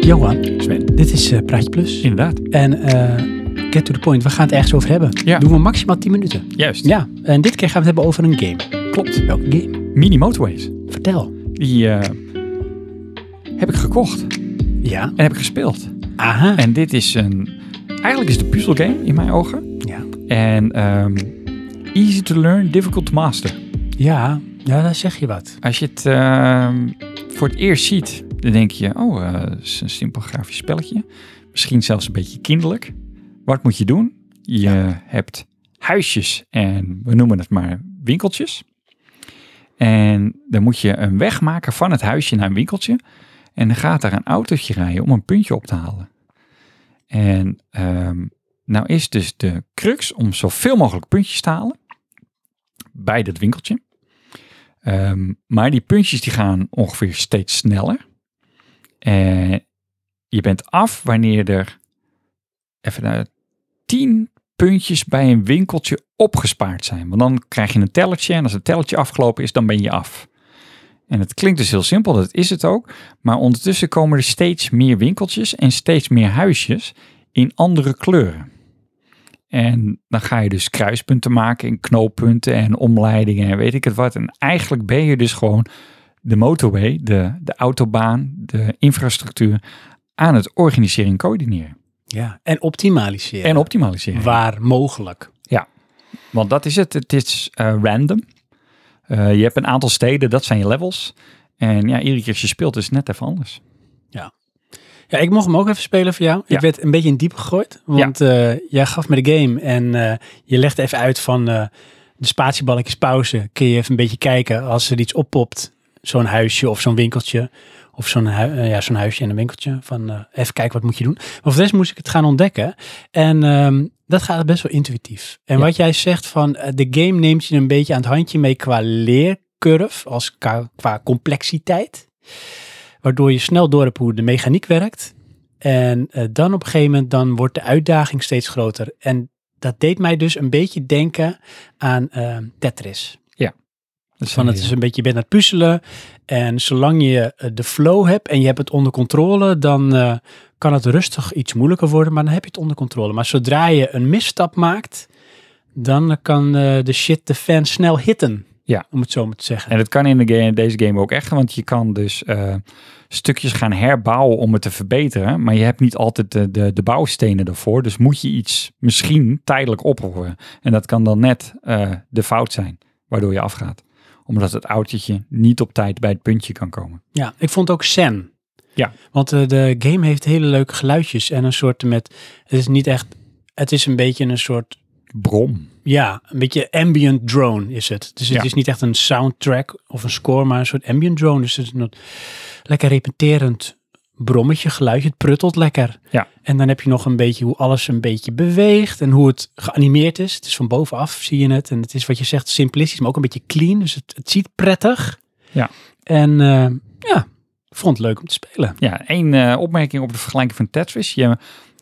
Johan, Sven. dit is eh Praatje Plus. Inderdaad. En eh, get to the point, we gaan het ergens over hebben. Ja. Doen we maximaal 10 minuten. Juist. Ja, en dit keer gaan we het hebben over een game. Klopt. Welke game? Mini Motorways. Vertel. Die eh, heb ik gekocht en Ja. heb ik gespeeld. Aha. En dit is een... Eigenlijk is het een puzzelgame in mijn ogen. Ja. En ehm, easy to learn, difficult to master. Ja, ja, daar zeg je wat. Als je het ehm, voor het eerst ziet, dan denk je... Oh, eh, het is een simpel grafisch spelletje. Misschien zelfs een beetje kinderlijk. Wat moet je doen? Je hebt huisjes en we noemen het maar winkeltjes. En dan moet je een weg maken van het huisje naar een winkeltje. En dan gaat daar een autootje rijden om een puntje op te halen. En ehm, nou is dus de crux om zoveel mogelijk puntjes te halen bij dat winkeltje. Ehm, maar die puntjes die gaan ongeveer steeds sneller. En je bent af wanneer er even naar tien puntjes bij een winkeltje opgespaard zijn. Want dan krijg je een tellertje en als het tellertje afgelopen is, dan ben je af. En het klinkt dus heel simpel, dat is het ook. Maar ondertussen komen er steeds meer winkeltjes en steeds meer huisjes in andere kleuren. En dan ga je dus kruispunten maken en knooppunten en omleidingen en weet ik het wat. En eigenlijk ben je dus gewoon de motorway, de, de autobaan, de infrastructuur aan het organiseren en coördineren. Ja. En optimaliseren. En optimaliseren. Waar mogelijk. Want dat is het. Het is eh, random. Eh, je hebt een aantal steden, dat zijn je levels. En ja, iedere keer als je speelt is het net even anders. Ja, ik mocht hem ook even spelen voor jou. Ja. Ik werd een beetje in diep gegooid. Want eh, jij gaf me de game en eh, je legde even uit van eh, de spatiebalkjes pauze. Kun je even een beetje kijken als er iets oppopt. Zo'n huisje of zo'n winkeltje. Of zo'n hui- eh, ja, zo'n huisje en een winkeltje. Van eh, even kijken wat moet je doen. Maar voor de rest moest ik het gaan ontdekken. En ehm, dat gaat best wel intuïtief. En Ja. wat jij zegt van eh, de game neemt je een beetje aan het handje mee qua leercurve. Als qua, qua complexiteit. Waardoor je snel door hebt hoe de mechaniek werkt. En eh, dan op een gegeven moment dan wordt de uitdaging steeds groter. En dat deed mij dus een beetje denken aan ehm, Tetris. Dat is Van het is een beetje, je bent aan het puzzelen. En zolang je eh, de flow hebt en je hebt het onder controle, dan eh, kan het rustig iets moeilijker worden, maar dan heb je het onder controle. Maar zodra je een misstap maakt, dan kan eh, de shit de fan snel hitten. Ja. Om het zo maar te zeggen. En dat kan in de game, deze game ook echt, want je kan dus eh, stukjes gaan herbouwen om het te verbeteren, maar je hebt niet altijd de, de, de bouwstenen daarvoor, dus moet je iets misschien tijdelijk opofferen. En dat kan dan net eh, de fout zijn, waardoor je afgaat. Omdat het autootje niet op tijd bij het puntje kan komen. Ja, ik vond ook Sen. Ja. Want eh, de game heeft hele leuke geluidjes en een soort met, het is niet echt, het is een beetje een soort Brom. Ja, een beetje ambient drone is het. Dus het Ja. is niet echt een soundtrack of een score, maar een soort ambient drone. Dus het is een lekker repeterend brommetje geluidje. Het pruttelt lekker. Ja. En dan heb je nog een beetje hoe alles een beetje beweegt en hoe het geanimeerd is. Het is van bovenaf, zie je het. En het is wat je zegt, simplistisch, maar ook een beetje clean. Dus het, het ziet prettig. Ja. En eh, ja, ik vond het leuk om te spelen. Ja, één eh, opmerking op de vergelijking van Tetris. Je,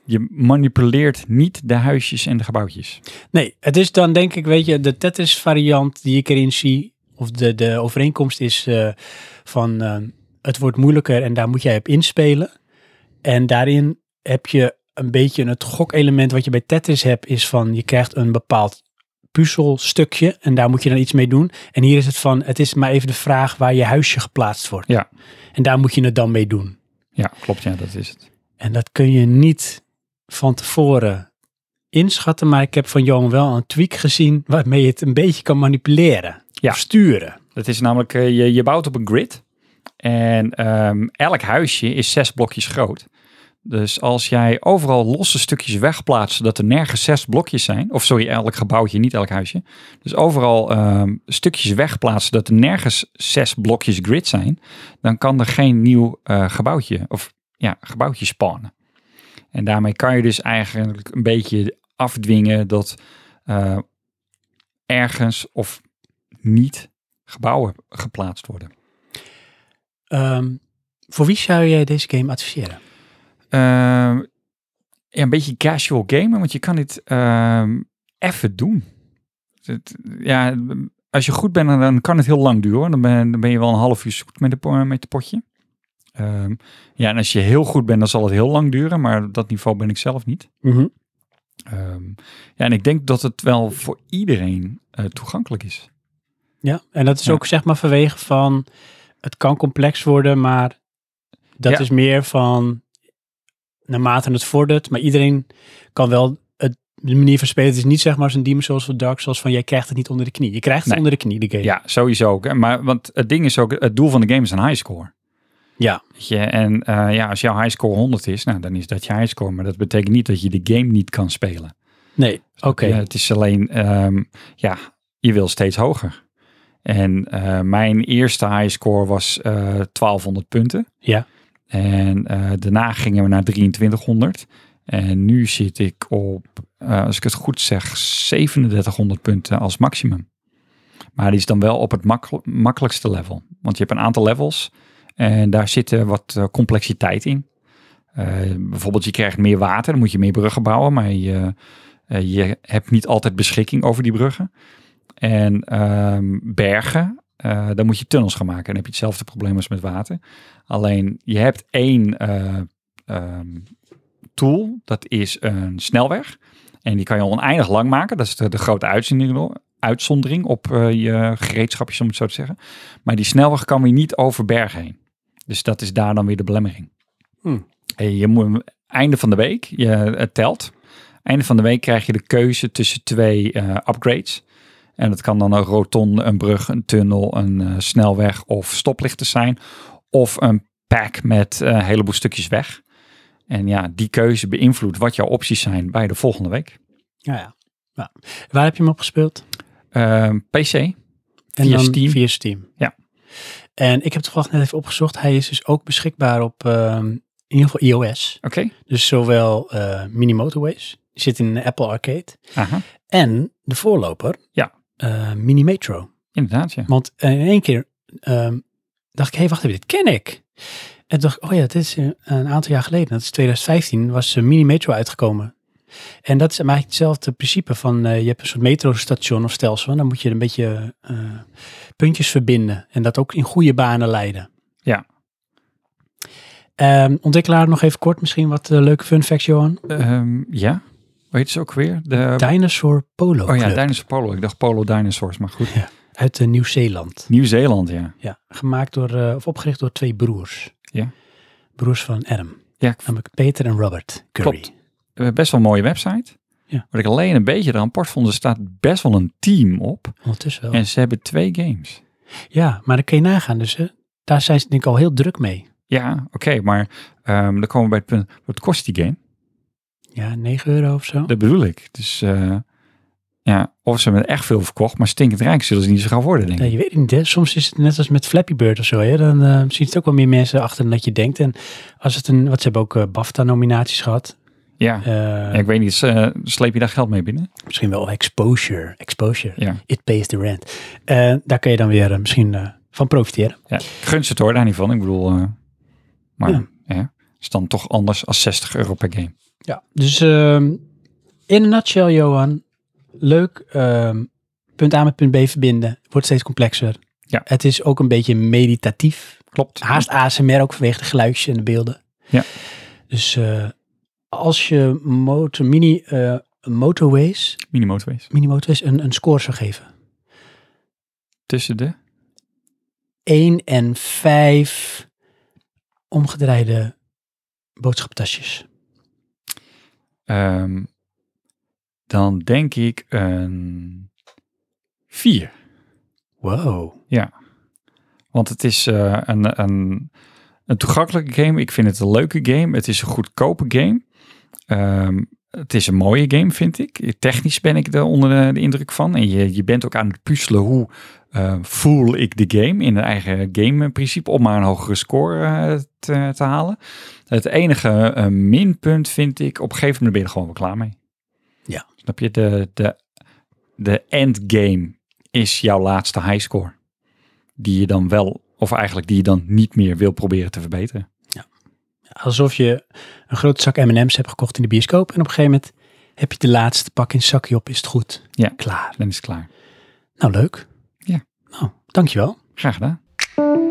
je manipuleert niet de huisjes en de gebouwtjes. Nee, het is dan denk ik, weet je, de Tetris variant die ik erin zie, of de, de overeenkomst is eh, van eh, het wordt moeilijker en daar moet jij op inspelen. En daarin heb je een beetje het gokelement wat je bij Tetris hebt, is van je krijgt een bepaald puzzelstukje en daar moet je dan iets mee doen. En hier is het van, het is maar even de vraag waar je huisje geplaatst wordt. Ja. En daar moet je het dan mee doen. Ja, klopt. Ja, dat is het. En dat kun je niet van tevoren inschatten. Maar ik heb van Johan wel een tweak gezien waarmee je het een beetje kan manipuleren. Ja. Of sturen. Dat is namelijk, eh, je, je bouwt op een grid. En ehm, elk huisje is zes blokjes groot. Dus als jij overal losse stukjes wegplaatst, zodat er nergens zes blokjes zijn. Of sorry, elk gebouwtje, niet elk huisje. Dus overal ehm, stukjes wegplaatsen, zodat er nergens zes blokjes grid zijn. Dan kan er geen nieuw eh, gebouwtje, of ja, gebouwtje spawnen. En daarmee kan je dus eigenlijk een beetje afdwingen dat eh, ergens of niet gebouwen geplaatst worden. Ehm, voor wie zou jij deze game adviseren? Ehm, ja, een beetje casual gamen, want je kan dit ehm, even doen. Het- ja, als je goed bent, dan kan het heel lang duren. hoor. Dan ben, dan ben je wel een half uur zoet met, de, po- met het potje. Ehm, Ehm, ja, en als je heel goed bent, dan zal het heel lang duren, maar op dat niveau ben ik zelf niet. Mhm. Ehm, ja, en ik denk dat het wel voor iedereen eh, toegankelijk is. Ja, en dat is Ja. ook zeg maar vanwege van het kan complex worden, maar dat Ja. is meer van naarmate het vordert, maar iedereen kan wel het, de manier van spelen. Het is niet zeg maar zo'n Demon Souls of Dark Souls van jij krijgt het niet onder de knie. Je krijgt het Nee. onder de knie, de game. Ja, sowieso ook. hè. Maar want het ding is ook, het doel van de game is een highscore. Ja. Weet je, en eh, ja, als jouw highscore 100 is, nou, dan is dat je highscore. Maar dat betekent niet dat je de game niet kan spelen. Nee, oké. Ja, het is alleen, ehm, ja, je wil steeds hoger. En eh, mijn eerste highscore was eh, 1200 punten. Ja. En eh, daarna gingen we naar 2300. En nu zit ik op, eh, als ik het goed zeg, 3700 punten als maximum. Maar die is dan wel op het makkel- makkelijkste level. Want je hebt een aantal levels en daar zit eh, wat eh, complexiteit in. Eh, bijvoorbeeld je krijgt meer water, dan moet je meer bruggen bouwen, maar je, eh, je hebt niet altijd beschikking over die bruggen. En ehm, bergen, eh dan moet je tunnels gaan maken. Dan heb je hetzelfde probleem als met water. Alleen je hebt één eh, ehm, tool, dat is een snelweg. En die kan je oneindig lang maken. Dat is de, de grote uitzondering, uitzondering op eh, je gereedschapjes, om het zo te zeggen. Maar die snelweg kan weer niet over bergen heen. Dus dat is daar dan weer de belemmering. Hmm. En je moet einde van de week, je, het telt. Einde van de week krijg je de keuze tussen twee eh, upgrades. En dat kan dan een rotonde, een brug, een tunnel, een eh, snelweg of stoplichten zijn. Of een pack met eh, een heleboel stukjes weg. En ja, die keuze beïnvloedt wat jouw opties zijn bij de volgende week. Ja, ja. Ja. Waar heb je hem op gespeeld? Ehm, PC, En Via dan Steam. Via Steam. Ja. En ik heb toevallig net even opgezocht. Hij is dus ook beschikbaar op ehm, in ieder geval iOS. oké. Dus zowel eh, Mini Motorways, die zit in de Apple Arcade. Aha, En de voorloper, Ja. eh, Mini Metro. inderdaad ja. Want eh, in één keer ehm, dacht ik, hé, hey, wacht even, dit ken ik. En toen dacht ik, oh ja, dit is eh, een aantal jaar geleden. Dat is 2015, was eh, Mini Metro uitgekomen. En dat is eigenlijk hetzelfde principe van, eh, je hebt een soort metrostation of stelsel. En dan moet je een beetje eh, puntjes verbinden. En dat ook in goede banen leiden. Ja. Ehm, ontwikkelaar nog even kort misschien wat eh, leuke fun facts, Johan. Ehm, ja, weet ze ook weer? De, Dinosaur Polo oh ja, Club Dinosaur Polo. Ik dacht Polo Dinosaurs, maar goed. uit eh, Nieuw-Zeeland. Nieuw-Zeeland, ja. Ja, gemaakt door, eh, of opgericht door twee broers. Ja. Broers van Adam, Ja, ik namelijk Peter en Robert Curry. Klopt. We hebben best wel een mooie website. Ja. Wat ik alleen een beetje rapport vond, er staat best wel een team op. Ondertussen wel. En ze hebben twee games. Ja, maar dan kun je nagaan. Dus hè, daar zijn ze denk ik al heel druk mee. Ja, oké, maar ehm, dan komen we bij het punt, wat kost die game? Ja, 9 euro of zo. Dat bedoel ik. Dus eh, ja, of ze hebben er echt veel verkocht, maar stinkend rijk zullen ze niet zo gaan worden, denk ik. Nee, je weet het niet. Hè? Soms is het net als met Flappy Bird of zo. Hè? Dan eh, zien het ook wel meer mensen achter dan dat je denkt. En als het een, wat ze hebben ook eh, BAFTA-nominaties gehad. Ja. Eh, Ja, ik weet niet, eh, sleep je daar geld mee binnen? Misschien wel exposure. Exposure. Ja. It pays the rent. Eh, daar kun je dan weer eh, misschien eh, van profiteren. ja. Ik gun ze het hoor, daar niet van. Ik bedoel, eh, maar Ja. ja. is dan toch anders als 60 euro per game. Ja, dus ehm, in een nutshell, Johan. Leuk. ehm, punt A met punt B verbinden. Wordt steeds complexer. Ja. Het is ook een beetje meditatief. Klopt. Haast ASMR ook vanwege de geluidjes en de beelden. Ja. Dus eh, als je motor, mini, eh, motorways, Mini motorways. mini motorways een, een score zou geven. Tussen de? 1 en 5 omgedraaide boodschaptasjes. Ehm, dan denk ik een 4. Wow. Want het is eh, een, een, een toegankelijke game. Ik vind het een leuke game. Het is een goedkope game. Ehm, het is een mooie game, vind ik. Technisch ben ik er onder de, de indruk van. En je, je bent ook aan het puzzelen hoe eh, voel ik de game in een eigen game-principe om maar een hogere score eh, te, te halen. Het enige eh, minpunt vind ik, op een gegeven moment ben je er gewoon wel klaar mee. Ja. Snap je? De, de, de endgame is jouw laatste highscore die je dan wel, of eigenlijk die je dan niet meer wil proberen te verbeteren. alsof je een grote zak M&M's hebt gekocht in de bioscoop. En op een gegeven moment heb je de laatste pak in het zakje op, is het goed. Ja. Klaar. Dan is het klaar. Nou, leuk. Ja. Nou, dankjewel. Graag gedaan.